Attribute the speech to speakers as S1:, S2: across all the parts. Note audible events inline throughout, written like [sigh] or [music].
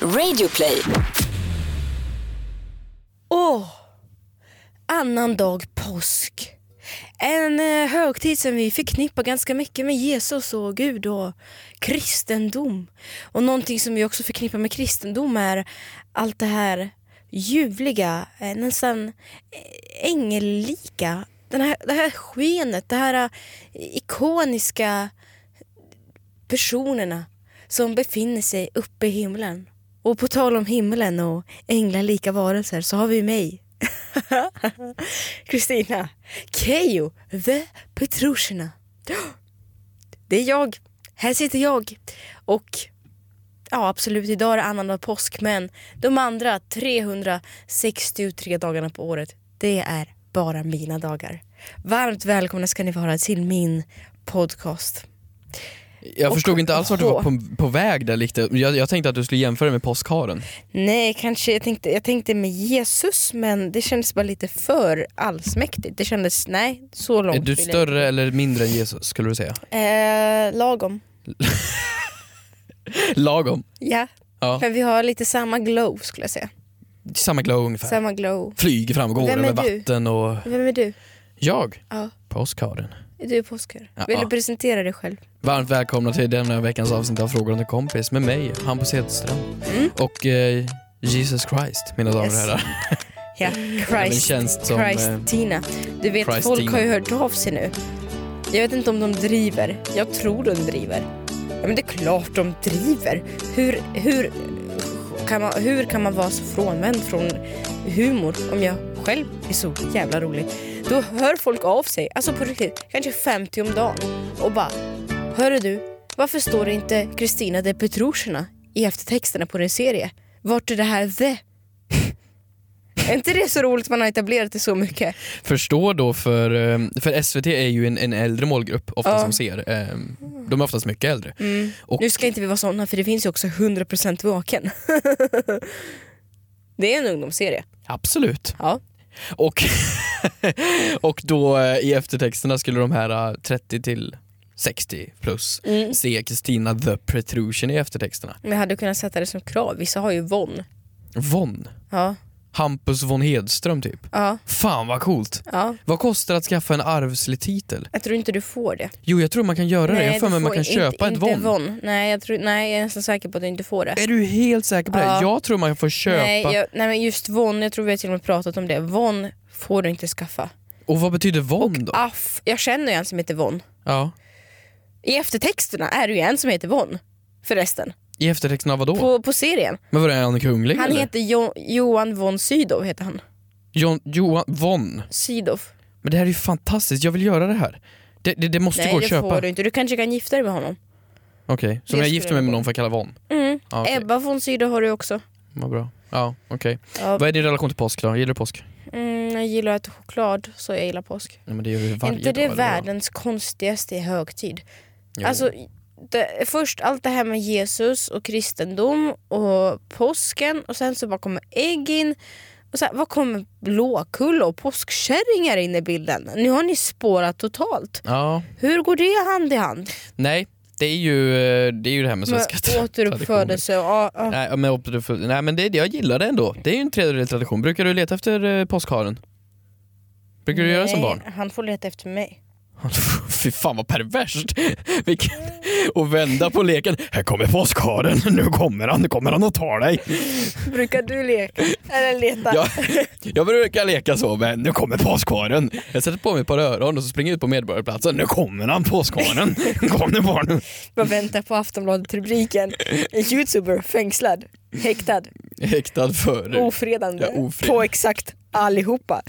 S1: Radioplay.
S2: Åh! annan dag påsk. En eh, högtid som vi förknippar ganska mycket med Jesus och Gud och kristendom. Och någonting som vi också förknippar med kristendom är allt det här ljuvliga, eh, nästan eh, ängellika. Den här, det här skenet, det här eh, ikoniska personerna som befinner sig uppe i himlen. Och på tal om himlen och änglalika varelser så har vi mig. [laughs] Kristina Keyyo the Petrushina. Det är jag. Här sitter jag. Och ja, absolut, idag är det annandag påsk men de andra 363 dagarna på året, det är bara mina dagar. Varmt välkomna ska ni vara till min podcast.
S3: Jag
S2: Och
S3: förstod inte alls vart du
S2: H.
S3: var på, på väg där lite. Jag, jag tänkte att du skulle jämföra med påskharen.
S2: Nej, kanske jag tänkte, jag tänkte med Jesus men det kändes bara lite för allsmäktigt. Det kändes, nej, så långt
S3: Är du
S2: vill jag
S3: större eller mindre än Jesus skulle
S2: [laughs]
S3: du säga?
S2: Eh, lagom.
S3: Lagom.
S2: Ja.
S3: Ja,
S2: Men vi har lite samma glow skulle jag säga.
S3: samma glow ungefär.
S2: Samma glow.
S3: Flyger fram och går
S2: Vem är
S3: över
S2: du?
S3: vatten och...
S2: Vem är du?
S3: Jag?
S2: Ja.
S3: Påskharen.
S2: Är du påskare?
S3: Ja.
S2: Vill du presentera dig själv?
S3: Varmt välkomna till denna veckans avsnitt av Frågor om en kompis med mig, Hampus Hedström.
S2: Mm.
S3: Och eh, Jesus Christ, mina damer och
S2: Yes.
S3: herrar.
S2: Ja,
S3: Min
S2: Christ.
S3: tjänst som... eh,
S2: Christina. Du vet,
S3: Christina.
S2: folk har ju hört av sig nu. Jag vet inte om de driver. Jag tror de driver. Ja, men det är klart de driver. Hur, hur, kan, man, hur kan man vara så frånvänd från humor om jag själv är så jävla rolig? Då hör folk av sig, alltså på riktigt, kanske 50 om dagen och bara Hörru du, varför står det inte Kristina de Petrushina i eftertexterna på din serie? Vart är det här the? [laughs] är inte det så roligt man har etablerat det så mycket?
S3: Förstå då för, eh, för SVT är ju en, en äldre målgrupp ofta
S2: Ja. Mm.
S3: som ser. Eh, De är oftast mycket äldre. Och-
S2: Nu ska inte vi vara såna för det finns ju också 100% vaken. [laughs] det är en ungdomsserie.
S3: Absolut.
S2: Ja.
S3: Och, [laughs] och då eh, i eftertexterna skulle de här eh, 30 till 60 plus se Kristina the Protrusion i eftertexterna.
S2: Men jag hade kunnat sätta det som krav. Vissa har ju Von.
S3: Von.
S2: Ja,
S3: Hampus von Hedström typ.
S2: ja,
S3: Fan vad coolt.
S2: ja.
S3: Vad kostar det att skaffa en arvslig titel?
S2: Jag tror inte du får det.
S3: Jo jag tror man kan göra det. Jag har
S2: du
S3: för mig man
S2: får
S3: kan köpa
S2: inte,
S3: ett
S2: Inte
S3: von.
S2: Von. Nej, jag tror, nej, jag är nästan säker på att du inte får det.
S3: Är du helt säker på det?
S2: Ja.
S3: Jag tror man får köpa.
S2: Nej, jag, nej men just Von, jag tror vi har till och med pratat om det. Von får du inte skaffa.
S3: Och vad betyder von då?
S2: Aff, jag känner ju en som heter Von.
S3: Ja.
S2: I eftertexterna är det ju en som heter Von. Förresten.
S3: I eftertexterna av vadå?
S2: På, på serien.
S3: Men var det han kunglig
S2: Han
S3: eller?
S2: heter jo, Johan von Sydow. Heter han.
S3: John, Johan, von.
S2: Sydow.
S3: Men det här är ju fantastiskt, jag vill göra det här. Det, det, det måste
S2: Nej
S3: gå att
S2: det
S3: köpa.
S2: får
S3: Okej,
S2: du inte. Du kanske kan gifta dig med honom.
S3: så om
S2: Det
S3: jag gifter
S2: skulle
S3: mig med
S2: jag
S3: någon får jag kalla von?
S2: Mm.
S3: Ja, okej.
S2: Ebba von Sydow har du också.
S3: Vad bra. Ja, okej.
S2: Ja.
S3: Vad är din relation till påsk då? Gillar du påsk?
S2: Mm, jag gillar att äta choklad så jag gillar påsk.
S3: Nej men det gör du varje
S2: inte
S3: dag,
S2: det
S3: eller vadå?
S2: världens konstigaste högtid?
S3: Jo.
S2: Alltså, det, först allt det här med Jesus och kristendom och påsken och sen så bara kommer ägg in. Och sen, vad kommer blåkulla och påskkärringar in i bilden? Nu har ni spårat totalt.
S3: Ja,
S2: Hur går det hand i hand?
S3: nej. Det är ju eh, det, är ju det här
S2: Med
S3: med
S2: [laughs]
S3: svenska traditioner.
S2: återuppfödelse och... Ja, ja.
S3: Nej men, återuppföd- nej, men det, det- jag gillar det ändå. Det är ju en tredjedel tradition. Brukar du leta efter eh, påskharen? Brukar du göra det som
S2: Nej,
S3: barn? [laughs]
S2: Han får leta efter mig.
S3: Fy fan vad perverst! [laughs] Vilken... Och vända på leken. Här kommer påskharen, nu kommer han, nu kommer han att ta dig.
S2: Brukar du leka? Eller leta?
S3: Jag, jag brukar leka så, men nu kommer påskharen. Jag sätter på mig ett par öron och så springer jag ut på Medborgarplatsen. Nu kommer han, påskharen.
S2: [laughs]
S3: Kom nu barn.
S2: Bara väntar på Aftonbladet-rubriken. En youtuber fängslad, häktad,
S3: Häktad för...
S2: ofredande
S3: Ja, ofred-
S2: på exakt allihopa.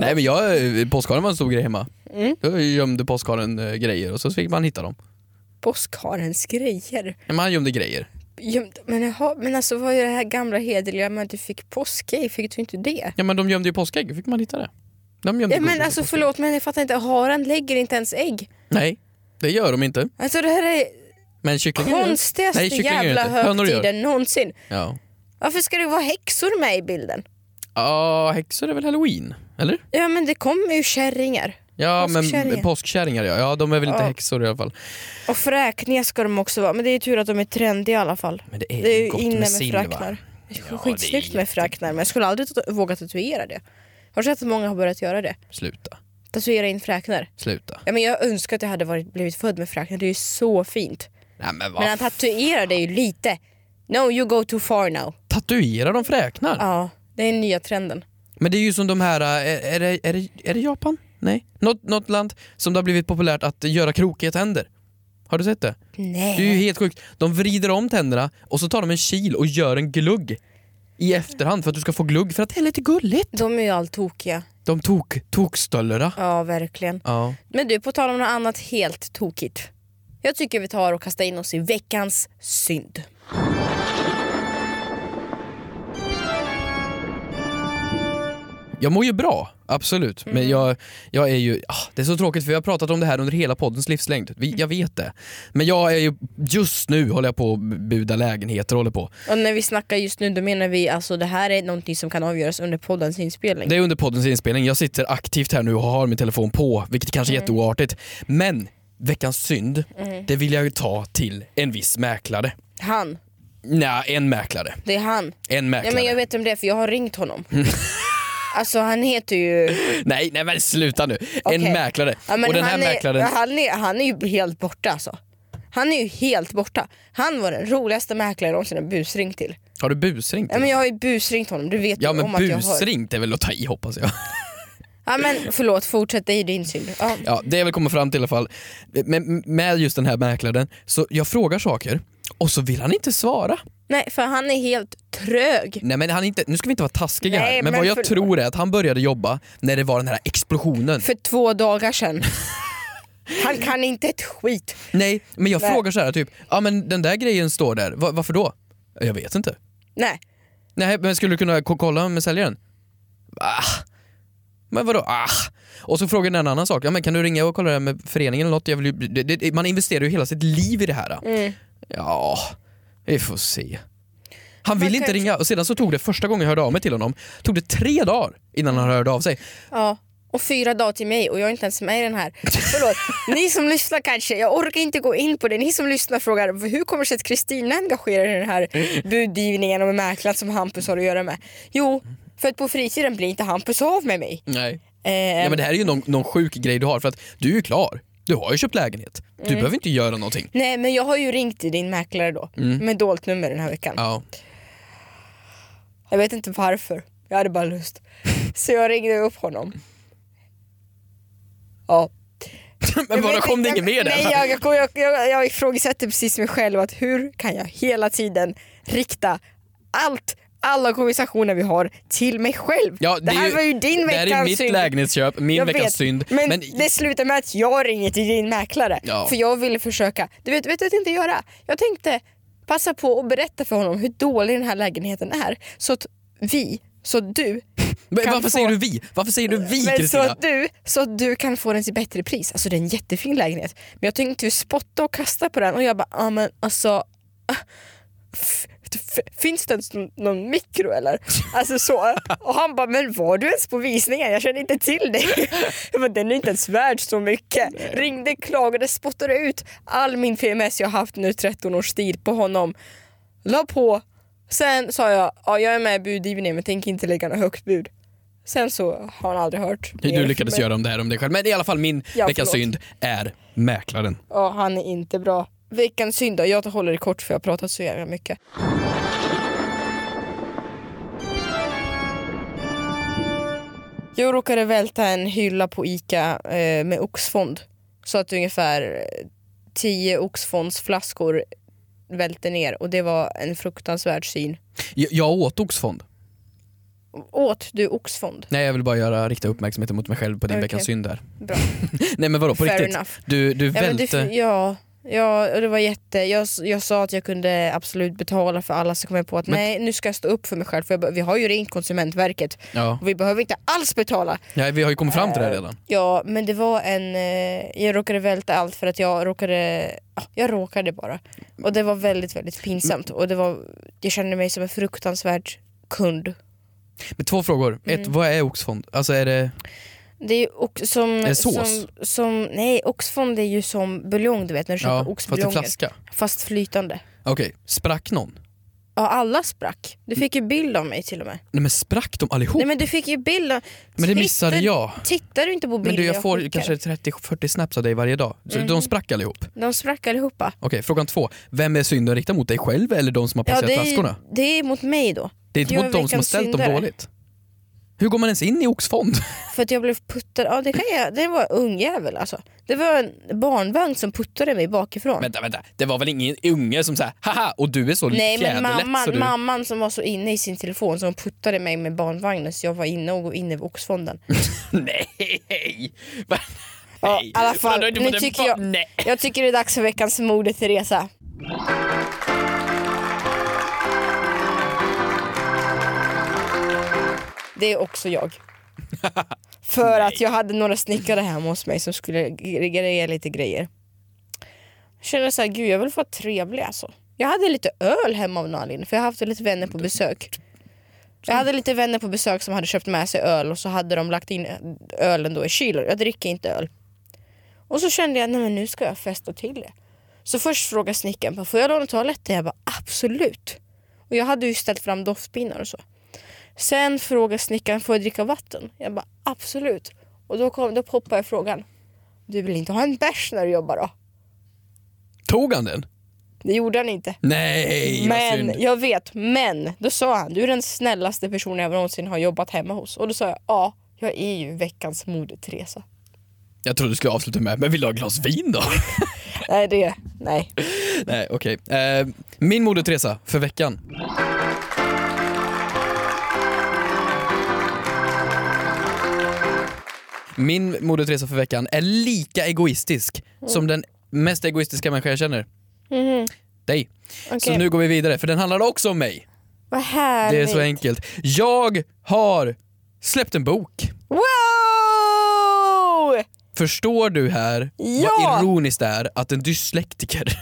S3: Nej men jag, påskharen var en stor grej hemma.
S2: Mm.
S3: Jag gömde påskharen eh, grejer och så fick man hitta dem.
S2: Påskharens grejer.
S3: Men han gömde grejer.
S2: Gömd- Men jaha, men alltså vad är det här gamla hederliga med att du fick påskägg? Fick du inte det?
S3: Ja men de gömde ju påskägg, hur fick man hitta det? De gömde
S2: Ja, men
S3: godis.
S2: alltså förlåt men jag fattar inte, haren lägger inte ens ägg.
S3: Nej, det gör de inte.
S2: Alltså det här är
S3: Men kycklingar gör det.
S2: konstigaste
S3: Nej, kycklingar gör
S2: jävla
S3: inte. Hönor gör.
S2: högtiden någonsin.
S3: Ja.
S2: Varför ska det vara häxor med i bilden?
S3: Ja, häxor är väl halloween? Eller?
S2: Ja men det kommer ju kärringar.
S3: Ja men
S2: Påskkärringar.
S3: påskkärringar ja. ja, de är väl inte
S2: Ja.
S3: häxor i alla fall.
S2: Och fräkniga ska de också vara, men det är tur att de är trendiga i alla fall.
S3: Men det är,
S2: Det är
S3: gott
S2: ju inne
S3: med
S2: med
S3: silver.
S2: fräknar. Det
S3: Ja,
S2: är
S3: det
S2: Skitsnyggt
S3: är
S2: med fräknar men jag skulle aldrig tatu- våga tatuera det. Har du sett att många har börjat göra det?
S3: Sluta,
S2: Tatuera in fräknar.
S3: sluta.
S2: Ja, men jag önskar att jag hade varit, blivit född med fräknar, det är ju så fint.
S3: Nej men vad
S2: Men han tatuerar det ju lite. No you go too far now.
S3: Tatuerar de fräknar?
S2: Ja, det är den nya trenden.
S3: Men det är ju som de här, äh, är, är, det, är, det, är det Japan? Nej? Något, något land som det har blivit populärt att göra krokiga tänder. Har du sett det?
S2: Nej.
S3: Det är ju helt sjukt. De vrider om tänderna och så tar de en kil och gör en glugg i efterhand för att du ska få glugg för att det är lite gulligt.
S2: De är ju alltokiga.
S3: De tok, tokstöllerna.
S2: Ja, verkligen.
S3: Ja.
S2: Men du, på tal om något annat helt tokigt. Jag tycker vi tar och kastar in oss i veckans synd.
S3: Jag mår ju bra, absolut.
S2: Mm.
S3: Men jag, jag är ju... ah, Det är så tråkigt för vi har pratat om det här under hela poddens livslängd. Vi, jag vet det. Men jag är ju... Just nu håller jag på att buda lägenheter. Håller på.
S2: Och när vi snackar just nu, då menar vi alltså det här är någonting som kan avgöras under poddens inspelning.
S3: Det är under poddens inspelning. Jag sitter aktivt här nu och har min telefon på, vilket kanske är
S2: Mm.
S3: jätteoartigt. Men veckans synd, det vill jag ju ta till en viss mäklare.
S2: Han.
S3: Nej, en mäklare.
S2: Det är han.
S3: En mäklare. Mm.
S2: Ja, men jag vet om det är, för jag har ringt honom. [laughs] alltså han heter ju...
S3: Nej, nej men sluta nu. En
S2: Okej.
S3: mäklare.
S2: Ja, men
S3: och den här
S2: han,
S3: mäklaren...
S2: är, han, är, han är ju helt borta alltså. Han är ju helt borta. Han var den roligaste mäklaren jag någonsin har busringt till.
S3: Har du busringt?
S2: Ja, men jag har ju busringt honom, du vet
S3: ja
S2: ju om
S3: men
S2: att jag har.
S3: busringt är väl att ta i hoppas jag.
S2: Ja men förlåt, fortsätt, det är ju din synd. Ja.
S3: Ja, det jag vill komma fram till i alla fall, med, med just den här mäklaren, så jag frågar saker och så vill han inte svara.
S2: Nej för han är helt trög.
S3: Nej men han är inte, nu ska vi inte vara taskiga
S2: Nej,
S3: här, men,
S2: men
S3: vad jag
S2: för-
S3: tror är att han började jobba när det var den här explosionen.
S2: För två dagar
S3: [laughs]
S2: sedan. han kan inte ett skit.
S3: Nej, men jag
S2: Nej.
S3: frågar så här typ, ja men den där grejen står där, Va, varför då? Jag vet inte.
S2: Nej.
S3: Nej, men skulle du kunna ko- kolla med säljaren? Ah. Men vadå? Ah. Och så frågar den en annan sak. Ja, men kan du ringa och kolla det här med föreningen eller något? Jag vill ju, det, det, man investerar ju hela sitt liv i det här.
S2: Mm.
S3: Ja, vi får se. Han vill
S2: Man
S3: inte
S2: kan-
S3: ringa och sedan så tog det första gången jag hörde av mig till honom, tog det tre dagar innan han hörde av sig.
S2: Ja. Och fyra dagar till mig och jag är inte ens med i den här.
S3: [laughs]
S2: Förlåt, ni som lyssnar kanske, jag orkar inte gå in på det. Ni som lyssnar frågar hur kommer det sig att Kristina engagerar sig i den
S3: [laughs]
S2: här budgivningen och mäklaren som Hampus har att göra med? Jo, för att på fritiden blir inte Hampus av med mig.
S3: Nej.
S2: Eh,
S3: Ja, men det här är ju någon, någon sjuk grej du har för att du är ju klar. Du har ju köpt lägenhet. Du
S2: Mm.
S3: behöver inte göra någonting.
S2: Nej men jag har ju ringt till din mäklare då, med dolt nummer den här veckan.
S3: Mm. Ja.
S2: Jag vet inte varför. Jag hade bara lust.
S3: [laughs]
S2: Så jag ringde upp honom. Ja.
S3: Men
S2: Jag
S3: bara
S2: vet
S3: kom det
S2: inte-
S3: inget mer där?
S2: Nej, jag, jag, jag, jag, jag ifrågasätter precis mig själv. att Hur kan jag hela tiden rikta allt, alla konversationer vi har till mig själv?
S3: Ja,
S2: det, här
S3: är ju-
S2: var ju din
S3: Det här är
S2: veckans
S3: mitt
S2: synd.
S3: lägenhetsköp, min
S2: Jag
S3: veckans
S2: vet,
S3: synd.
S2: Men,
S3: Men
S2: det slutar med att jag ringer till din mäklare.
S3: Ja.
S2: För jag ville försöka. Du vet, vet du vad jag tänkte göra? Jag tänkte passa på att berätta för honom hur dålig den här lägenheten är. Så att vi, så att du
S3: men
S2: kan
S3: varför
S2: få-
S3: säger du vi? Varför säger du vi
S2: men så,
S3: Kristina?
S2: att du, så att du kan få den till bättre pris. Alltså det är en jättefin lägenhet. Men jag tänkte ju spotta och kasta på den och jag bara, ja men alltså. ah, f- f- Finns det ens någon- någon mikro eller? Alltså så. Och han bara, men var du ens på visningen? Jag kände inte till dig. Jag bara, den är inte ens värd så mycket. Ringde, klagade, spottade ut all min PMS jag haft nu 13 års tid på honom. La på. Sen sa jag, ja jag är med i budgivningen men tänker inte lägga något högt bud. Sen så har han aldrig hört.
S3: Hur
S2: mer
S3: du lyckades
S2: från mig.
S3: göra om det här om dig själv. Men i alla fall min
S2: Ja,
S3: veckans
S2: förlåt.
S3: synd är mäklaren.
S2: Ja, han är inte bra. Veckans synd då? Jag håller det kort för jag har pratat så jävla mycket. Jag råkade välta en hylla på Ica eh, med oxfond. Så att ungefär 10 oxfondsflaskor välte ner och det var en fruktansvärd syn.
S3: Jag, jag åt oxfond.
S2: Åt du oxfond?
S3: Nej jag vill bara göra, rikta uppmärksamheten mot mig själv på din
S2: Okej.
S3: veckans synd där.
S2: Bra.
S3: [laughs] Nej men vadå på
S2: Fair
S3: riktigt?
S2: enough.
S3: Du, du
S2: Ja, men
S3: välte...
S2: det, ja, ja, och det var jätte... Jag, jag sa att jag kunde absolut betala för alla, så kom jag på att
S3: Men-
S2: nej, nu ska jag stå upp för mig själv. För jag, be- vi har ju ringt Konsumentverket
S3: ja.
S2: och vi behöver inte alls betala.
S3: ja, vi har ju kommit fram till det
S2: Eh,
S3: här redan.
S2: Ja, men det var en... Eh, jag råkade välta allt för att jag råkade... ja, Jag råkade bara. Och det var väldigt, väldigt pinsamt.
S3: Mm.
S2: Och det var, jag kände mig som en fruktansvärd kund. mm.
S3: Men två frågor. Ett, vad är oxfond? Alltså är det...
S2: Det är ju också som...
S3: det sås?
S2: som, som nej, oxfond är ju som buljong du vet när du köper
S3: Ja, fast i
S2: oxbuljonger. Fast,
S3: flaska.
S2: flytande.
S3: Okej, sprack någon?
S2: Ja alla sprack. Du fick ju bild av mig till och med.
S3: Nej men sprack de allihop?
S2: Nej men du fick ju bild av...
S3: men det missade
S2: Tittar-
S3: jag.
S2: Tittar du inte på bilder
S3: Men du jag får
S2: skickar?
S3: kanske 30-40 snaps av dig varje dag. Så
S2: Mm.
S3: de sprack allihop. Okej,
S2: De sprack allihopa.
S3: frågan två. Vem är synden riktad mot dig själv eller de som har
S2: Ja,
S3: placerat
S2: det,
S3: flaskorna?
S2: är, det är mot mig då.
S3: Det är inte
S2: jag
S3: mot
S2: är
S3: de som har
S2: veckans
S3: ställt dem
S2: syndare.
S3: dåligt. Hur går man ens in i oxfond?
S2: För att jag blev puttad. Ja, det, kan jag, det var en ungjävel alltså. Det var en barnvagn som puttade mig bakifrån.
S3: [laughs] vänta, vänta. Det var väl ingen unge som sa haha och du är så
S2: Nej men
S3: fjäderlätt så
S2: mamman,
S3: du...
S2: mamman som var så inne i sin telefon så hon puttade mig med barnvagnen så jag var inne och inne i
S3: [laughs]
S2: Oxfonden.
S3: [laughs] Nej! Va?
S2: Ja,
S3: Nej.
S2: i alla
S3: Vadå,
S2: fall,
S3: du har inte
S2: nu
S3: fått en
S2: tycker
S3: ba-
S2: jag-
S3: Nej.
S2: [laughs] Jag tycker det är dags för veckans mode Teresa. Det är också jag. För att jag hade några snickare hemma hos mig som skulle greja lite grejer. Jag kände så här, gud jag vill få vara trevlig alltså. Jag hade lite öl hemma av någon anledning för jag har haft lite vänner på besök. Jag hade lite vänner på besök som hade köpt med sig öl och så hade de lagt in ölen då i kylen. Jag dricker inte öl. Och så kände jag, nej men nu ska jag festa till det. Så först frågade snickaren, bara, får jag låna toaletten? Jag bara absolut. Och jag hade ju ställt fram doftpinnar och så. Sen frågade snickaren, får jag dricka vatten? Jag bara absolut. Och då, kom, då poppade jag frågan, du vill inte ha en bärs när du jobbar då?
S3: Tog han den?
S2: Det gjorde han inte.
S3: Nej, vad synd.
S2: Men jag vet, men då sa han du är den snällaste personen jag någonsin har jobbat hemma hos. Och då sa jag ja, jag är ju veckans moder Teresa.
S3: Jag trodde du skulle avsluta med, men vill du ha ett glas vin [laughs] då?
S2: Nej det, nej.
S3: Nej, okej. Eh, min Moder Teresa för veckan. Min Moder Teresa för veckan är lika egoistisk som den mest egoistiska människa jag känner. Dig.
S2: Mhm. Okej.
S3: Så nu går vi vidare, för den handlar också om mig.
S2: Vad
S3: Det är
S2: härligt.
S3: så enkelt. Jag har släppt en bok.
S2: Wow!
S3: Förstår du här
S2: Ja!
S3: vad ironiskt det är att en dyslektiker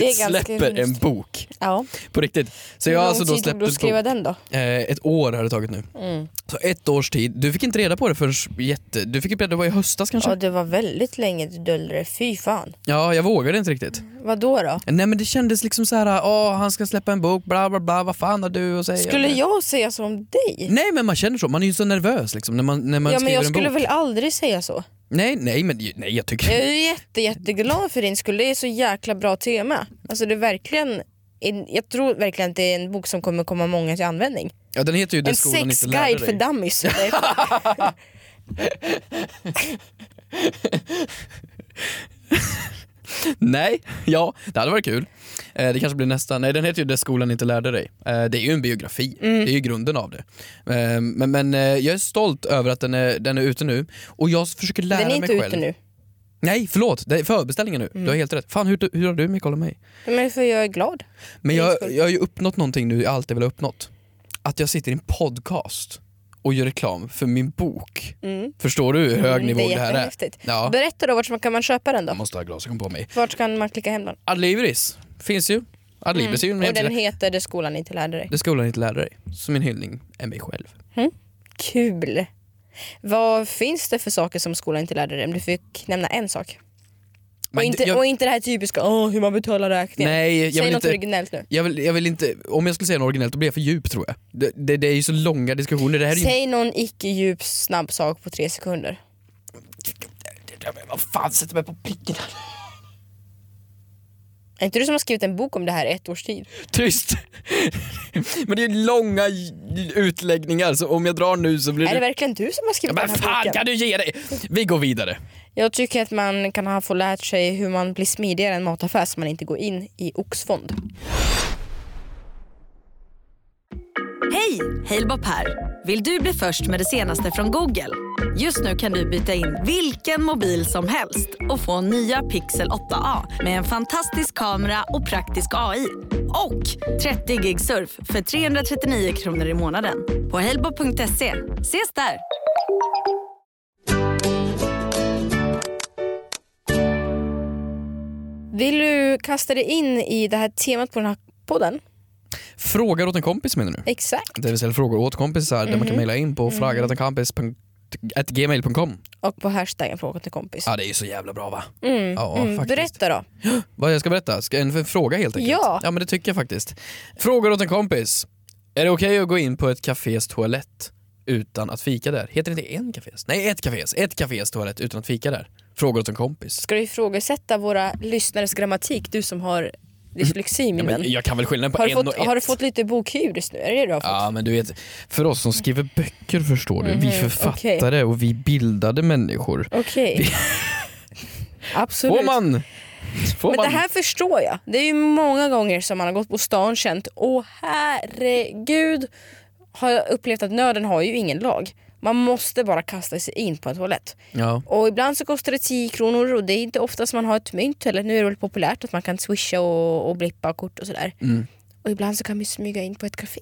S2: Det är ganska
S3: släpper en
S2: roligt.
S3: bok?
S2: Ja.
S3: På riktigt. Så jag har alltså då släppt
S2: du
S3: en
S2: att
S3: bok.
S2: skriva den då?
S3: Eh, ett år har det tagit nu.
S2: Mm.
S3: Så ett års tid. Du fick inte reda på det förrän jätte... Du fick reda på det i höstas kanske?
S2: Ja,
S3: Ja,
S2: det var väldigt länge du dolde det. Fy fan.
S3: jag vågade inte riktigt.
S2: Vad då? då?
S3: Nej men det kändes liksom så här, åh han ska släppa en bok, bla bla bla, vad fan har du att säga?
S2: Skulle jag säga så om dig?
S3: Nej men man känner så, man är ju så nervös liksom när man, när man
S2: Ja, men
S3: skriver
S2: jag
S3: en
S2: skulle Eh,
S3: bok.
S2: väl aldrig säga så.
S3: Nej, nej men nej jag tycker...
S2: Jag är ju jätte, jätteglad för din skull. Det är så jäkla bra tema. Alltså det är verkligen en, jag tror verkligen att det är en bok som kommer komma många till användning.
S3: Ja den heter ju Den
S2: En
S3: skolan inte lärde
S2: sexguide för
S3: dig. [laughs]
S2: dummies. Det är-
S3: Nej, [laughs] ja det hade varit kul. Eh, det kanske blir nästa. Nej den heter ju Det skolan inte lärde dig. Eh, det är ju en biografi,
S2: Mm.
S3: det är ju grunden av det. Eh, men men eh, jag är stolt över att den är, den är ute nu och jag försöker lära
S2: Den är
S3: mig
S2: inte
S3: själv.
S2: ute nu. Mm.
S3: Nej förlåt, det är förbeställningen nu. Du har helt rätt. Fan hur, hur har du Mikael och mig?
S2: Men för jag är glad.
S3: Men
S2: Det är
S3: jag,
S2: inte skoj.
S3: jag har ju uppnått någonting nu jag alltid vill ha uppnått. Att jag sitter i en podcast och gör reklam för min bok.
S2: Mm.
S3: Förstår du hur hög nivå
S2: det är
S3: det, här är?
S2: jättehäftigt.
S3: Ja.
S2: Berätta då, vart man- kan man köpa den
S3: Jag
S2: då?
S3: måste ha glasögon på mig.
S2: Vart kan man klicka hem den?
S3: Adlibris finns ju. Adlibris är ju en
S2: Mm. Och den
S3: hemsida.
S2: heter Det skolan inte lärde dig.
S3: Det skolan inte lärde dig. Så min hyllning är mig själv.
S2: Kul! Vad finns det för saker som skolan inte lärde dig? Om du fick nämna en sak.
S3: Men
S2: och, inte,
S3: jag,
S2: och inte det här typiska Åh, hur man betalar räkningen.
S3: nej, jag
S2: Säg
S3: vill
S2: något
S3: inte...
S2: originellt nu.
S3: Jag vill, jag vill inte, om jag skulle säga något originellt då blir jag för djup tror jag. Det, det, det är ju så långa diskussioner. Det här är ju...
S2: Säg någon icke djup snabb sak på tre sekunder.
S3: Vad fan, sätter mig på pricken här.
S2: Är inte du som har skrivit en bok om det här i ett års tid?
S3: Tyst! Men det är ju långa j- utläggningar så om jag drar nu så blir
S2: Är det
S3: det...
S2: verkligen du som har
S3: Ja,
S2: skrivit
S3: Men
S2: den här
S3: fan
S2: boken?
S3: kan du ge dig? Vi går vidare.
S2: Jag tycker att man kan ha fått lärt sig hur man blir smidigare i en mataffär så man inte går in i oxfond.
S1: Hej! Halebop här. Vill du bli först med det senaste från Google? Just nu kan du byta in vilken mobil som helst och få nya Pixel 8A med en fantastisk kamera och praktisk AI. Och 30 gig surf för 339 kronor i månaden på halebop.se. Ses där!
S2: Vill du kasta dig in i det här temat på den här podden?
S3: Frågar åt en kompis menar du?
S2: Exakt. Mm.
S3: Det vill säga frågor åt kompisar där man kan mejla in på mm. at gmail.com.
S2: Och på hashtaggen fråga till kompis.
S3: Ja, det är ju så jävla bra va?
S2: Mm.
S3: Ja,
S2: mm.
S3: faktiskt.
S2: Berätta då.
S3: Vad jag ska berätta? Ska en f- fråga helt enkelt?
S2: Ja.
S3: Ja men det tycker jag faktiskt. Frågor åt en kompis. Är det okej att gå in på ett cafés toalett utan att fika där? Heter det inte en cafés? Nej, ett cafés. Ett cafés toalett utan att fika där. Frågor åt en kompis.
S2: Ska du ifrågasätta våra lyssnares grammatik, du som har dyslexi
S3: Mm. Ja,
S2: min
S3: men
S2: vän?
S3: jag kan väl skillnaden på
S2: Har, du
S3: en och
S2: fått-
S3: ett?
S2: har du fått lite bokhybris nu? Är det det du har fått?
S3: Ja men du vet, för oss som skriver böcker förstår du,
S2: Mm,
S3: vi författare och vi bildade människor.
S2: Okej. [laughs] Absolut.
S3: Får man? Får
S2: Men
S3: man?
S2: det här förstår jag. Det är ju många gånger som man har gått på stan och känt åh herregud har jag upplevt att nöden har ju ingen lag. Man måste bara kasta sig in på en toalett.
S3: Ja.
S2: Och ibland så kostar det 10 kronor och det är inte ofta som man har ett mynt eller nu är det väl populärt att man kan swisha och, och blippa kort och sådär.
S3: Mm.
S2: Och ibland så kan man ju smyga in på ett café.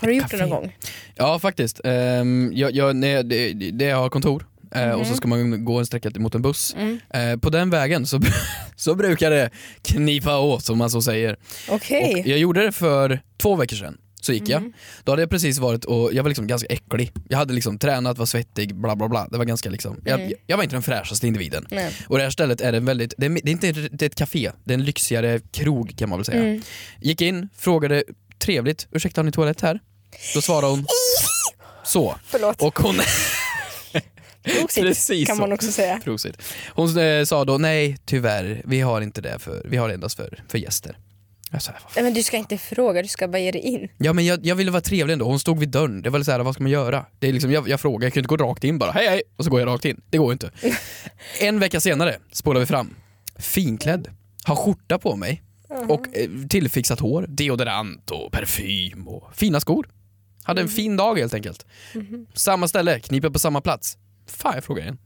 S2: Har du gjort det någon
S3: café?
S2: gång?
S3: ja faktiskt. Ehm, jag, jag, nej, det, det jag har kontor eh, och så ska man gå en sträcka mot en buss. Eh, på den vägen så, [laughs] så brukar det knipa åt som man så säger.
S2: Okej. Mhm.
S3: Och jag gjorde det för två veckor sedan. Så gick jag. Då hade jag precis varit och jag var liksom ganska äcklig. Jag hade liksom tränat, var svettig, bla bla bla. Det var ganska liksom, jag, jag var inte den fräschaste individen.
S2: Nej.
S3: Och det här stället är en väldigt, det är, det är inte det är ett café, det är en lyxigare krog kan man väl säga.
S2: Mm.
S3: Gick in, frågade trevligt, ursäkta har ni toalett här? Då svarade hon så.
S2: Förlåt. [laughs]
S3: Och hon,
S2: Prosit,
S3: precis
S2: kan
S3: så.
S2: man också säga.
S3: prosit. Hon eh, sa då nej tyvärr, vi har inte det för, vi har det endast för, för gäster. Jag sa, "Vad fan?"
S2: Nej, men du ska inte fråga, du ska bara ge dig in.
S3: Ja men jag, jag ville vara trevlig ändå, hon stod vid dörren, det var så här, vad ska man göra? Det är liksom, jag, jag frågade, jag kunde inte gå rakt in bara, hej hej, och så går jag rakt in. Det går ju inte. en vecka senare spolar vi fram, finklädd, har skjorta på mig och eh, tillfixat hår, deodorant och parfym och fina skor. Hade en fin dag helt enkelt. Samma ställe, kniper på samma plats. Fan jag frågar igen.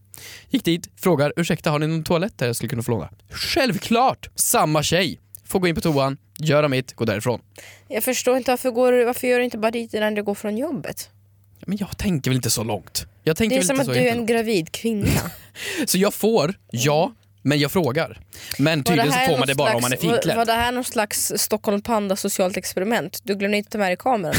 S3: Gick dit, frågar ursäkta har ni någon toalett där jag skulle kunna få låna? Självklart! Samma tjej! Får gå in på toan, göra mitt, gå därifrån.
S2: Jag förstår inte varför, går, du- varför gör du inte bara dit innan du går från jobbet?
S3: Men jag tänker väl inte så långt. Jag
S2: Det
S3: tänker
S2: är
S3: väl
S2: som
S3: inte
S2: att
S3: så
S2: du är en
S3: egentligen.
S2: gravid kvinna.
S3: Så jag får, ja, men jag frågar. Men [laughs] tydligen så
S2: här
S3: får man
S2: någon
S3: det bara om
S2: slags-
S3: man är
S2: Var, var
S3: finklädd.
S2: det här någon slags Stockholm Panda socialt experiment? Du glömde inte ta med dig kameran.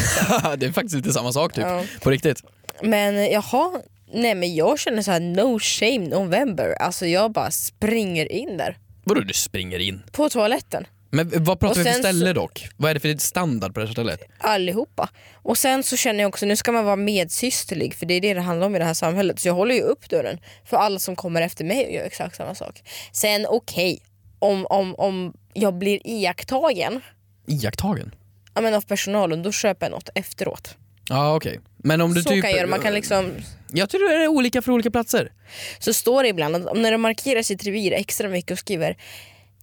S3: [laughs] det är faktiskt inte samma sak typ.
S2: Ja.
S3: På riktigt.
S2: Men eh, jaha, nej men jag känner så här no shame november. Alltså jag bara springer in där.
S3: Vadå du springer in?
S2: På toaletten.
S3: Men vad pratar
S2: Och
S3: vi för
S2: sen så-
S3: ställe dock? Vad är det för standard på det här stället?
S2: Allihopa. Och sen så känner jag också, nu ska man vara medsysterlig för det är det det handlar om i det här samhället. Så jag håller ju upp dörren för alla som kommer efter mig och gör exakt samma sak. Sen okej, om, om, om jag blir iakttagen
S3: Iakttagen?
S2: ja, men av personalen då köper jag något efteråt.
S3: Ja okej. Men om du
S2: Så
S3: typ...
S2: kan jag göra, man kan liksom
S3: Jag tror det är olika för olika platser.
S2: så står det ibland att om när de markerar sitt revir extra mycket och skriver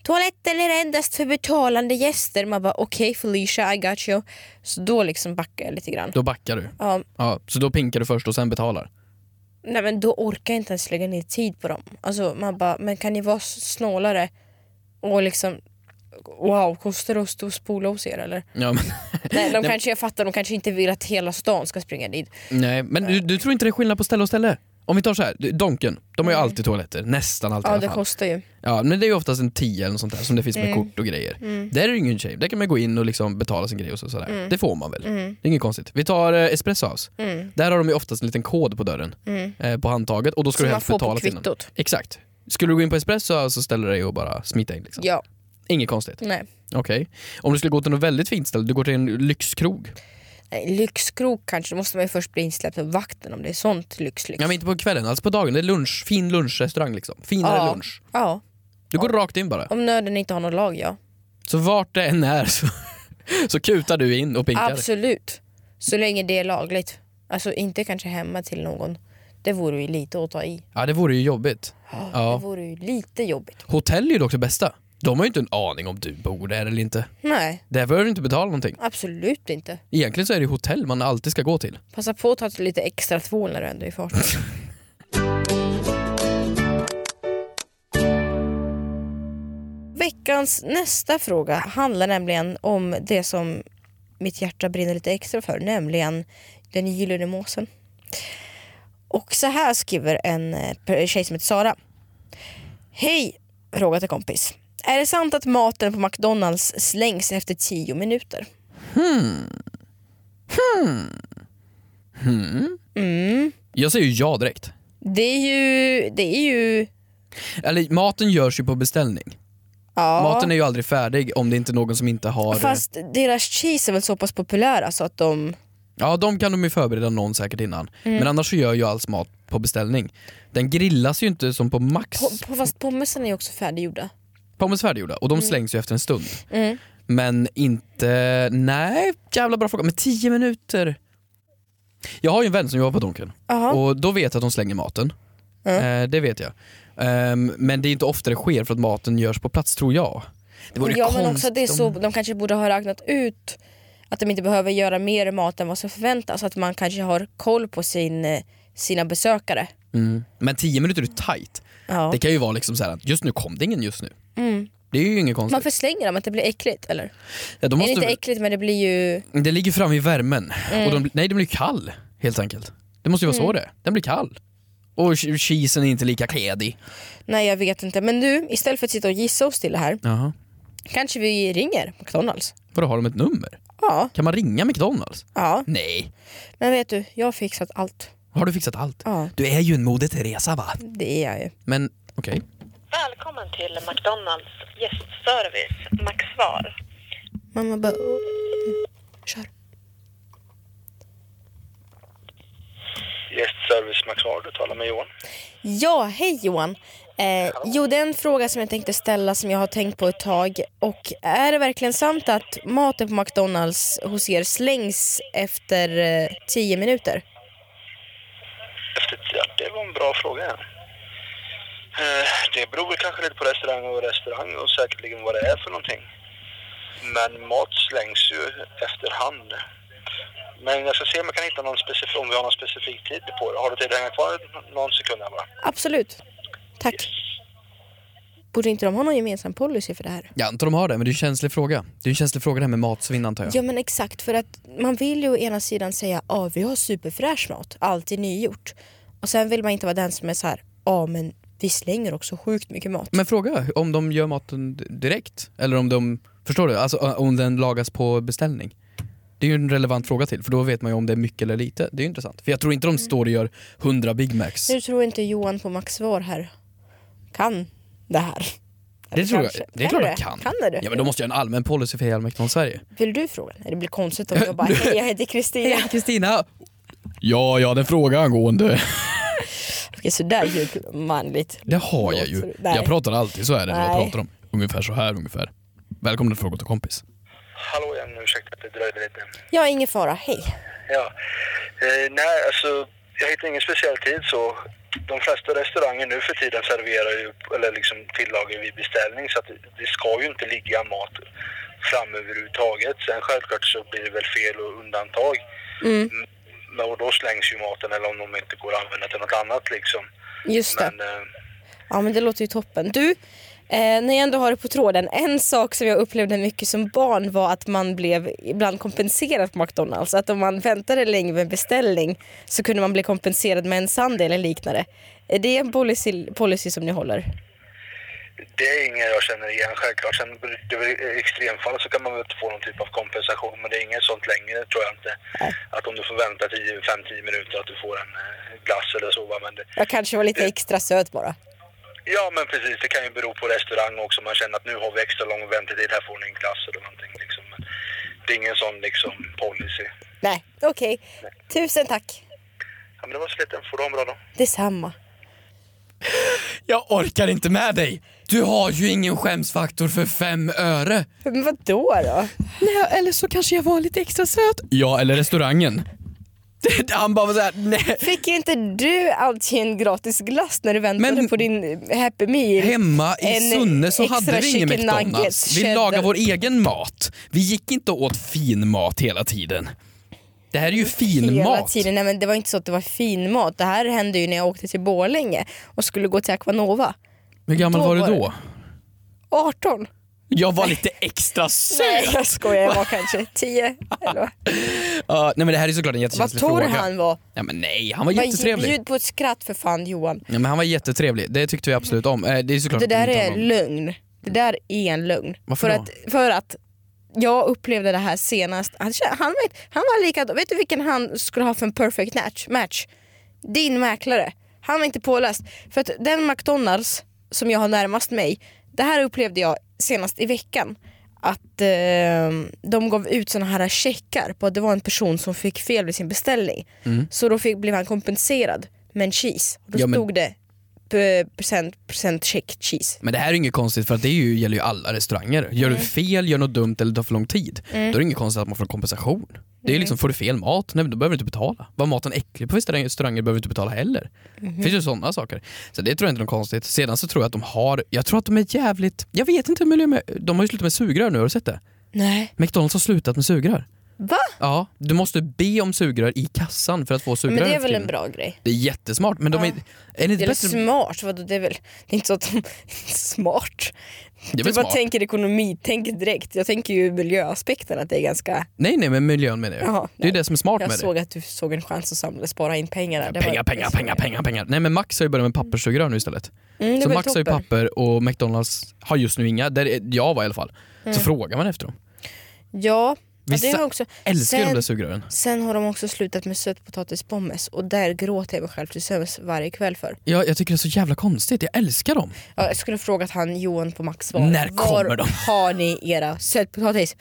S2: Toaletten är endast för betalande gäster. Man bara okej Felicia I got you. Så då liksom backar jag lite grann.
S3: Då backar du.
S2: Ja,
S3: Ja, så då pinkar du först och sen betalar.
S2: nej men då orkar jag inte ens lägga ner tid på dem. Alltså man bara, men kan ni vara snålare? Och liksom wow, kostar det att stå och spola hos er
S3: [laughs]
S2: eller?
S3: Ja, men,
S2: Nej, de kanske, jag fattar, de kanske inte vill att hela stan ska springa dit.
S3: nej, men du, du tror inte det är skillnad på ställe och ställe? Om vi tar så här, du- Donken, de har ju alltid toaletter. Nästan alltid
S2: Mm. Ja
S3: i alla
S2: det
S3: fall.
S2: kostar ju.
S3: Ja men det är ju oftast en 10 eller något sånt där som det finns med
S2: Mm.
S3: kort och grejer. Där är det ju ingen shame, där kan man gå in och liksom betala sin grej och så, sådär.
S2: Mm.
S3: Det får man väl. Det är inget konstigt. Vi tar eh, Espresso House.
S2: Mm.
S3: Där har de ju oftast en liten kod på dörren, eh, på handtaget och då ska
S2: Som
S3: du
S2: Mm. man
S3: helst
S2: får på
S3: betala till den.
S2: kvittot.
S3: Exakt. Skulle du gå in på Espresso House så ställer du dig och bara smita in liksom.
S2: Ja,
S3: Inget konstigt.
S2: nej.
S3: Okej. Om du skulle gå till något väldigt fint ställe, du går till en lyxkrog.
S2: Nej, Eh, lyxkrok kanske, då måste man ju först bli insläppt av vakten om det är sånt lyx. lyx.
S3: Ja men inte på kvällen, alltså på dagen. Det är lunch, fin lunchrestaurang liksom. Finare
S2: Ja.
S3: lunch.
S2: Ja,
S3: Du går rakt in bara.
S2: om nöden inte har något lag ja.
S3: Så vart det än är så, så kutar du in och pinkar.
S2: Absolut. Så länge det är lagligt. Alltså inte kanske hemma till någon. Det vore ju lite att ta i.
S3: Ja det vore ju jobbigt.
S2: Det
S3: Ja.
S2: vore ju lite jobbigt.
S3: Hotell är ju dock det bästa. De har ju inte en aning om du bor där eller inte.
S2: Nej,
S3: Där behöver du inte betala någonting.
S2: absolut inte.
S3: Egentligen så är det ju hotell man alltid ska gå till.
S2: Passa på att ta till lite extra tvål när du ändå är i farten. Veckans nästa fråga handlar nämligen om det som mitt hjärta brinner lite extra för, nämligen den gyllene måsen. Och så här skriver en eh, per- tjej som heter Sara. Hej, fråga till kompis. Är det sant att maten på McDonalds slängs efter 10 minuter?
S3: Hmm.
S2: Mm.
S3: Jag säger ju ja direkt.
S2: Det är ju... Det är ju
S3: Eller maten görs ju på beställning.
S2: ja.
S3: Maten är ju aldrig färdig om det inte är någon som inte har...
S2: Fast deras cheese är väl så pass populära så att de...
S3: Ja, de kan de ju förbereda någon säkert innan.
S2: Mm.
S3: Men annars så gör ju alls mat på beställning. Den grillas ju inte som på Max
S2: Po- po- fast pommesen är ju också färdiggjorda.
S3: pommes färdiggjorda och de slängs ju efter en stund.
S2: Mm.
S3: Men inte... Nej, jävla bra fråga. Men tio minuter? Jag har ju en vän som jobbar på Donken
S2: Jaha.
S3: och då vet jag att de slänger maten. Eh, det vet jag. Ehm, men det är inte ofta det sker för att maten görs på plats tror jag. Det vore
S2: Ja men
S3: konstigt
S2: också att det är så,
S3: om-
S2: de kanske borde ha räknat ut att de inte behöver göra mer mat än vad som förväntas. Att man kanske har koll på sin, eh, sina besökare.
S3: Mm. Men tio minuter är ju tight.
S2: Ja.
S3: Det kan ju vara liksom så här att just nu kom det ingen just nu.
S2: Mm.
S3: Det är ju inget konstigt.
S2: Man förslänger dem, att det blir äckligt eller?
S3: ja, de
S2: Det är
S3: måste...
S2: inte äckligt men det blir ju...
S3: Det ligger framme i värmen. Och
S2: Eh.
S3: de, nej, den blir kall helt enkelt. Det måste ju vara
S2: Mm.
S3: så det är. Den blir kall. Och che- cheesen är inte lika kledig.
S2: Nej jag vet inte. Men nu, istället för att sitta och gissa oss till det här,
S3: Jaha.
S2: kanske vi ringer McDonalds?
S3: Vadå, har de ett nummer?
S2: Ja.
S3: Kan man ringa McDonalds?
S2: ja.
S3: Nej.
S2: Men vet du, jag har fixat allt.
S3: Har du fixat allt?
S2: Ja,
S3: Du är ju en Moder Teresa va?
S2: det är jag ju.
S3: Men okej.
S4: Välkommen till McDonalds gästservice, McSvar.
S2: Mamma bara... "Åh." Kör.
S5: Gästservice Max Hard, du talar med Johan.
S2: Ja, hej Johan. Eh, jo, det är en fråga som jag tänkte ställa som jag har tänkt på ett tag. Och är det verkligen sant att maten på McDonalds hos er slängs efter eh, tio minuter?
S5: Efter, ja, det var en bra fråga. ja. Eh, det beror väl kanske lite på restaurang och restaurang och säkerligen vad det är för någonting. Men mat slängs ju efterhand. Men jag ska se om jag kan hitta någon specifik, om vi har någon specifik tid på det. Har du tid att hänga kvar någon sekund här bara?
S2: Absolut. Tack. Borde inte de ha någon gemensam policy för det här?
S3: Jag antar de har det, men det är en känslig fråga. Det är en känslig fråga det här med matsvinn antar jag.
S2: Ja men exakt, för att man vill ju å ena sidan säga ja vi har superfräsch mat, alltid nygjort. Och sen vill man inte vara den som är så här, ja men vi slänger också sjukt mycket mat.
S3: Men fråga om de gör maten d- direkt? Eller om de... Förstår du? Alltså ö, om den lagas på beställning. Det är ju en relevant fråga till, för då vet man ju om det är mycket eller lite. Det är ju intressant. För jag tror
S2: Mm.
S3: inte de står och gör 100 Big Macs.
S2: Nu tror inte Johan på Max svar här. Kan det här?
S3: Det tror jag.
S2: kanske.
S3: Det är klart
S2: du
S3: jag kan.
S2: Kan du?
S3: Ja men då måste jag ha en allmän policy för hela McDonalds Sverige.
S2: Vill du fråga? Nej, Det blir konstigt om jag
S3: [laughs]
S2: bara, hej jag heter Kristina.
S3: Kristina! Ja, jag hade en fråga angående...
S2: Okej sådär djupt manligt.
S3: Det har jag ju.
S2: Nej.
S3: Jag pratar alltid så här när jag
S2: Nej.
S3: pratar om. Ungefär så här ungefär. Välkommen till Fråga till kompis.
S5: Hallå igen, ursäkta att det dröjde lite.
S2: Ja ingen fara, hej.
S5: Ja. Eh, nej, alltså jag hittar ingen speciell tid så. De flesta restauranger nu för tiden serverar ju, eller liksom tillagar ju vid beställning så att det- det ska ju inte ligga mat fram överhuvudtaget. Sen självklart så blir det väl fel och undantag. Mm. Men och då slängs ju maten eller om de inte går att använda till något annat liksom.
S2: Just det.
S5: Men eh,
S2: Ja men det låter ju toppen. Du, eh, när jag ändå har det på tråden. En sak som jag upplevde mycket som barn var att man blev ibland kompenserad på McDonalds. Att om man väntade länge med en beställning så kunde man bli kompenserad med en sand eller liknande. Är det en policy, policy som ni håller?
S5: det är inget jag känner igen självklart. Sen det är väl i extremfall så kan man väl få någon typ av kompensation men det är inget sånt längre tror jag inte.
S2: Nej.
S5: Att om du får vänta 5-10 minuter att du får en eh, glass eller så va. Men det,
S2: Jag kanske var
S3: Eh.
S2: lite extra söt bara.
S5: Ja, men precis. Det kan ju bero på restaurang också. Man känner att nu har vi extra lång väntetid, här får ni en glass eller någonting. Liksom. Men det är ingen sån liksom, policy.
S2: Nej, okej. Tusen tack.
S5: Ja, men det var sliten. Får du ha en bra dag.
S2: Detsamma.
S3: Jag orkar inte med dig! Du har ju ingen skämsfaktor för fem öre.
S2: Men vadå då?
S3: Nej, eller så kanske jag var lite extra söt. Ja,
S2: [laughs]
S3: eller restaurangen. Han bara var såhär, nej.
S2: Fick inte du alltid en gratis glass när du väntade
S3: Men-
S2: på din Happy Meal?
S3: Hemma i
S2: En
S3: Sunne så
S2: extra
S3: hade vi ingen
S2: chicken
S3: McDonalds.
S2: nuggets,
S3: vi
S2: cheddar.
S3: lagade vår egen mat. Vi gick inte och åt fin mat hela tiden. Det här är ju fin
S2: hela
S3: mat.
S2: tiden. Nej, men det var inte så att det var fin mat. Det här hände ju när jag åkte till Borlänge och skulle gå till Aquanova.
S3: Hur gammal
S2: Då
S3: var du
S2: var
S3: då?
S2: 18?
S3: Jag var lite
S2: [laughs]
S3: extra
S2: Nej
S3: söt.
S2: jag skojar,
S3: [laughs]
S2: jag var kanske 10. Eller vad?
S3: Ja, nej men det här är såklart en
S2: vad
S3: jättekänslig
S2: torr
S3: fråga.
S2: han var.
S3: Ja, men nej, han var
S2: Men
S3: jättetrevlig.
S2: Bjud på ett skratt för fan Johan.
S3: Ja, men han var jättetrevlig, det tyckte vi absolut om. Eh, det är såklart
S2: Det där
S3: inte
S2: är
S3: honom.
S2: lögn. Det där är en lögn.
S3: Varför
S2: för,
S3: då?
S2: Att, för att jag upplevde det här senast. Han, han, vet, han var likadan. Vet du vilken han skulle ha för en perfect match? match? Din mäklare, han var inte påläst. För att den McDonalds som jag har närmast mig, det här upplevde jag senast i veckan. Att eh, de gav ut såna här checkar på att det var en person som fick fel vid sin beställning. Så då fick, blev han kompenserad med en cheese. Och då
S3: Mm. Ja, men-
S2: stod det p- procent, procent check cheese.
S3: Men det här är inget konstigt för att det är ju, gäller ju alla restauranger. Gör
S2: Mm.
S3: du fel, gör något dumt eller tar för lång tid, då är det inget konstigt att man får kompensation. Det
S2: Mm.
S3: är ju liksom, får du fel mat, nej, men då behöver du inte betala. Var maten äcklig på vissa restauranger behöver du inte betala heller.
S2: Mm-hmm.
S3: Det finns ju sådana saker. Så det tror jag inte är något konstigt. Sedan så tror jag att de har, jag tror att de är jävligt, jag vet inte hur de är, de har ju slutat med sugrör nu, har du sett det?
S2: Nej.
S3: McDonalds har slutat med sugrör.
S2: Va?
S3: Ja, du måste be om sugrör i kassan för att få sugrör.
S2: Men det
S3: nu
S2: är
S3: för
S2: väl en
S3: tiden.
S2: bra grej?
S3: Det är jättesmart, men de är, är det
S2: Det
S3: inte
S2: är liksom- väl
S3: bättre?
S2: smart? Vadå, det är väl det är inte så att de [laughs] smart?
S3: Det är
S2: du
S3: väl
S2: bara
S3: smart?
S2: tänker ekonomi, tänk direkt. Jag tänker ju miljöaspekten att det är ganska...
S3: Nej, nej, men miljön menar jag.
S2: Jaha,
S3: det är ju
S2: nej.
S3: det som är smart
S2: Jag
S3: med det.
S2: såg att du såg en chans att samla, spara in pengar där. Det var-
S3: Äh, Pengar, pengar, pengar, pengar, pengar. Nej men Max har ju börjat med papperssugrör nu istället.
S2: Mm, det
S3: så
S2: var
S3: Max har ju
S2: toppen.
S3: papper och McDonalds har just nu inga, där är- jag var i alla fall.
S2: Mm.
S3: Så frågar man efter dem.
S2: Ja, ja det
S3: Vissa
S2: har också.
S3: Älskar ju de
S2: Sen-
S3: där sugrören.
S2: Sen har de också slutat med sötpotatispommes och där gråter jag mig själv till sömns varje kväll för.
S3: Jag, jag tycker det är så jävla konstigt, jag älskar dem.
S2: Ja, Jag skulle frågat han Johan på Max var.
S3: När kommer
S2: var
S3: de?
S2: [laughs] har ni era sötpotatis?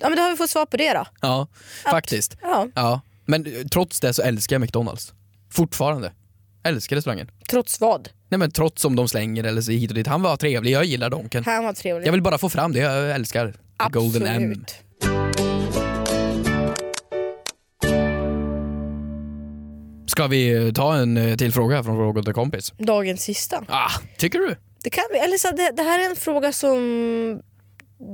S2: Ja men då har vi fått svar på det då.
S3: Ja, faktiskt.
S2: Ja,
S3: Ja. Men eh, trots det så älskar jag McDonalds. Fortfarande. Älskar restaurangen.
S2: trots vad?
S3: Nej men trots om de slänger eller så hit och dit. Han var trevlig, jag gillar Donken.
S2: Han var trevlig.
S3: Jag vill bara få fram det jag älskar. The Golden M.
S2: Absolut.
S3: Ska vi eh, ta en eh, till fråga från Fråga till kompis?
S2: Dagens sista.
S3: Ah, tycker du?
S2: Det, kan vi, eller så, det, det här är en fråga som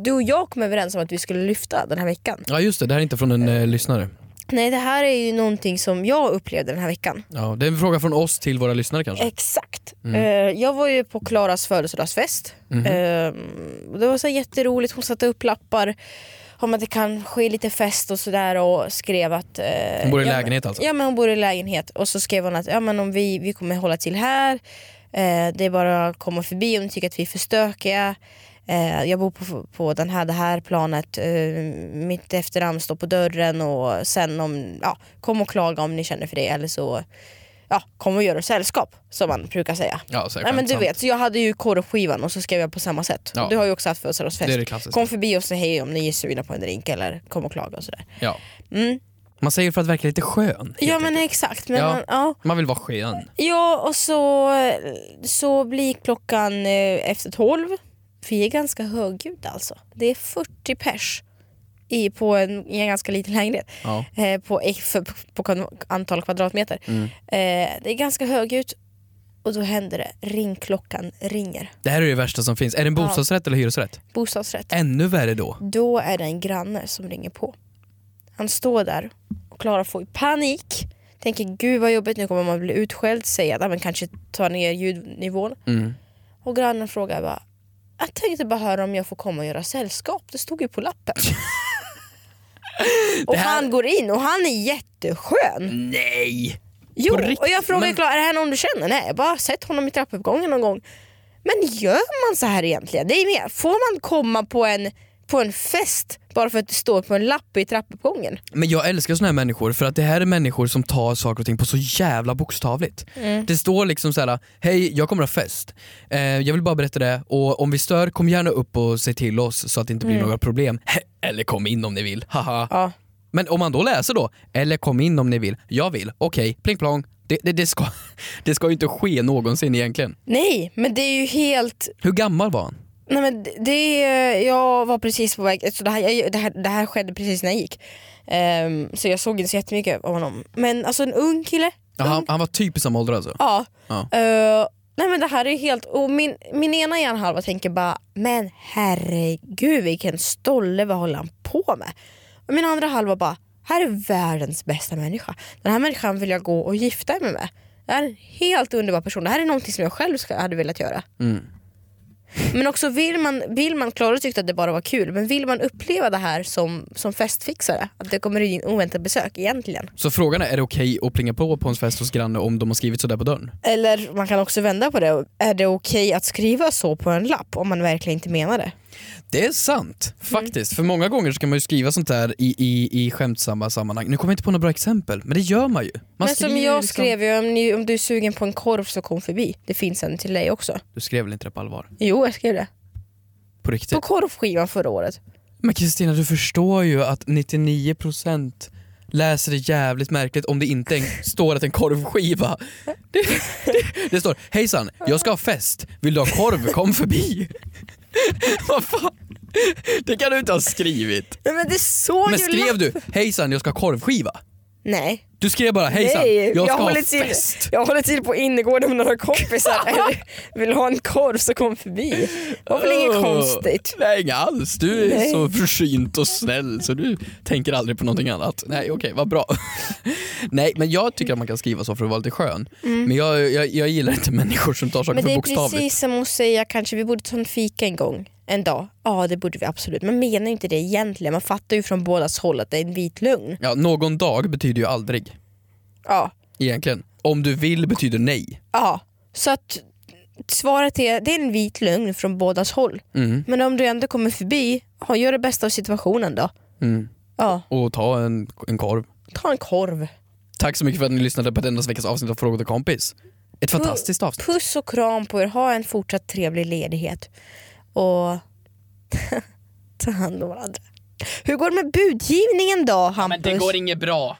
S2: du och jag kom överens om att vi skulle lyfta den här veckan.
S3: Ja just det, det här är inte från en eh, lyssnare.
S2: Nej, det här är ju någonting som jag upplevde den här veckan.
S3: Ja, det är en fråga från oss till våra lyssnare kanske.
S2: Exakt.
S3: Mm.
S2: Eh, jag var ju på Klaras födelsedagsfest.
S3: Mhm.
S2: Eh, och det var så här jätteroligt, hon satte upp lappar om att det kan ske lite fest och sådär och skrev att... eh,
S3: Hon bor i
S2: ja,
S3: lägenhet alltså.
S2: Ja men hon bor i lägenhet och så skrev hon att ja, men om vi, vi kommer hålla till här, eh, det är bara att komma förbi om ni tycker att vi är för stökiga. Eh, jag bor på, på den här, det här planet, eh, mitt efternamn står på dörren och sen om, ja, kom och klaga om ni känner för det eller så ja, kom och gör oss sällskap som man brukar säga.
S3: Ja, så är det
S2: Nej, men du
S3: skämtsamt.
S2: vet, så jag hade ju korvskivan och så skrev jag på samma sätt.
S3: Ja.
S2: Du har ju också haft födelsedagsfest.
S3: Det är det klassiska.
S2: kom förbi och säg hej om ni är sugna på en drink eller kom och klaga och sådär.
S3: Ja.
S2: Mm.
S3: Man säger för att verka lite skön. helt
S2: Ja men
S3: enkelt.
S2: exakt. Men
S3: Ja.
S2: Man, ja.
S3: Man vill vara skön.
S2: Ja, och så, så blir klockan eh, efter tolv. Vi är ganska högljudda alltså. Det är 40 pers i, på en, i en ganska liten lägenhet.
S3: Ja.
S2: Eh, på, eh, för, på kon- antal kvadratmeter. Eh, det är ganska högljutt. Och då händer det. Ringklockan ringer.
S3: Det här är det värsta som finns. Är det en bostadsrätt eller hyresrätt?
S2: Bostadsrätt.
S3: Ännu värre då.
S2: Då är det en granne som ringer på. Han står där och Klara får ju panik. Tänker gud vad jobbigt, nu kommer man bli utskälld. Säger att "Ja, men kanske ta ner ljudnivån.
S3: Mm.
S2: Och grannen frågar bara, jag tänkte bara höra om jag får komma och göra sällskap. Det stod ju på
S3: [laughs]
S2: lappen. och
S3: här-
S2: han går in och han är jätteskön.
S3: Nej!
S2: Jo,
S3: riktigt?
S2: och jag frågar
S3: Men-
S2: Klara, är det här någon du känner? Nej, jag har bara sett honom i trappuppgången någon gång. Men gör man så här egentligen? Det är mer, får man komma på en, på en fest bara för att det står på en lapp i trappuppgången?
S3: Men jag älskar såna här människor för att det här är människor som tar saker och ting på så jävla bokstavligt.
S2: Mm.
S3: Det står liksom så här: hej jag kommer ha fest, eh, jag vill bara berätta det och om vi stör kom gärna upp och säg till oss så att det inte blir
S2: Mm.
S3: några problem. [laughs] Eller kom in om ni vill, haha.
S2: Ja.
S3: Men om man då läser då, eller kom in om ni vill, jag vill, okej, pling plong. Det, det, det, ska, [laughs] det ska ju inte ske någonsin egentligen.
S2: Nej, men det är ju helt...
S3: Hur gammal var han?
S2: Nej, men det- det, jag var precis på väg, så det, här, jag- det, här, det här skedde precis när jag gick. Ehm, så jag såg inte så jättemycket av honom. Men alltså en ung kille.
S3: Ja, han, han var typ i samma ålder alltså?
S2: Ja.
S3: Ja.
S2: Eh, nej men det här är ju helt... Och min, min ena hjärnhalva tänker bara, men herregud vilken stolle, vad håller han på med? Och min andra halva bara, här är världens bästa människa. Den här människan vill jag gå och gifta mig med. Det här är en helt underbar person. Det här är någonting som jag själv ska, hade velat göra. Men också vill man, vill man, Klara tyckte att det bara var kul, men vill man uppleva det här som, som festfixare? Att det kommer in oväntat besök egentligen?
S3: Så frågan är, är det okej att plinga på på en fest hos granne om de har skrivit sådär på dörren?
S2: Eller man kan också vända på det. Är det okej att skriva så på en lapp om man verkligen inte menar det?
S3: Det är sant,
S2: Mm.
S3: faktiskt. För många gånger så kan man ju skriva sånt där i, i, i skämtsamma sammanhang. Nu kommer jag inte på några bra exempel, men det gör man ju. Man
S2: Men som
S3: skriver
S2: jag
S3: liksom-
S2: skrev ju, om, ni, om du är sugen på en korv så kom förbi. Det finns en till dig också.
S3: Du skrev väl inte det på allvar?
S2: Jo, jag skrev det.
S3: På riktigt?
S2: På korvskivan förra året.
S3: Men Kristina, du förstår ju att 99% läser det jävligt märkligt om det inte en, står att en korvskiva. Det, [laughs] det, det står “Hejsan, jag ska ha fest. Vill du ha korv? Kom förbi.” [laughs] Vad fan? Det kan du inte ha skrivit.
S2: Nej, men det såg
S3: Men
S2: ju
S3: skrev
S2: lapp-
S3: du “Hejsan, jag ska ha korvskiva”?
S2: Nej.
S3: Du skrev bara “Hejsan,
S2: Nej,
S3: jag ska ha
S2: håller till,
S3: fest”.
S2: jag håller till på innergården med några kompisar. [laughs] Vill ha en korv så kom förbi. Det var väl inget
S3: Åh,
S2: konstigt.
S3: Nej, inget alls. Du är
S2: Nej.
S3: så försynt och snäll så du tänker aldrig på någonting annat. Nej, okej, vad bra. [laughs] nej, men jag tycker att man kan skriva så för att vara lite skön. Men jag, jag, jag gillar inte människor som tar saker
S2: Mm. Men det
S3: för
S2: är
S3: bokstavligt.
S2: precis som att säga kanske vi borde ta en fika en gång. En dag. Ja det borde vi absolut. Man menar ju inte det egentligen. Man fattar ju från bådas håll att det är en vit lögn.
S3: Ja, någon dag betyder ju aldrig,
S2: Ja.
S3: egentligen. Om du vill betyder nej.
S2: ja. Så att svaret är det är en vit lögn från bådas håll.
S3: Mm,
S2: Men om du ändå kommer förbi, ja, gör det bästa av situationen då.
S3: mm.
S2: Ja,
S3: Och ta en, en korv.
S2: ta en korv.
S3: Tack så mycket för att ni lyssnade på denna veckas avsnitt av Fråga till kompis. Ett
S2: Mm.
S3: fantastiskt avsnitt.
S2: Puss och kram på er. Ha en fortsatt trevlig ledighet. Och [laughs] ta hand om varandra. Hur går det med budgivningen då Hampus?
S3: inget bra.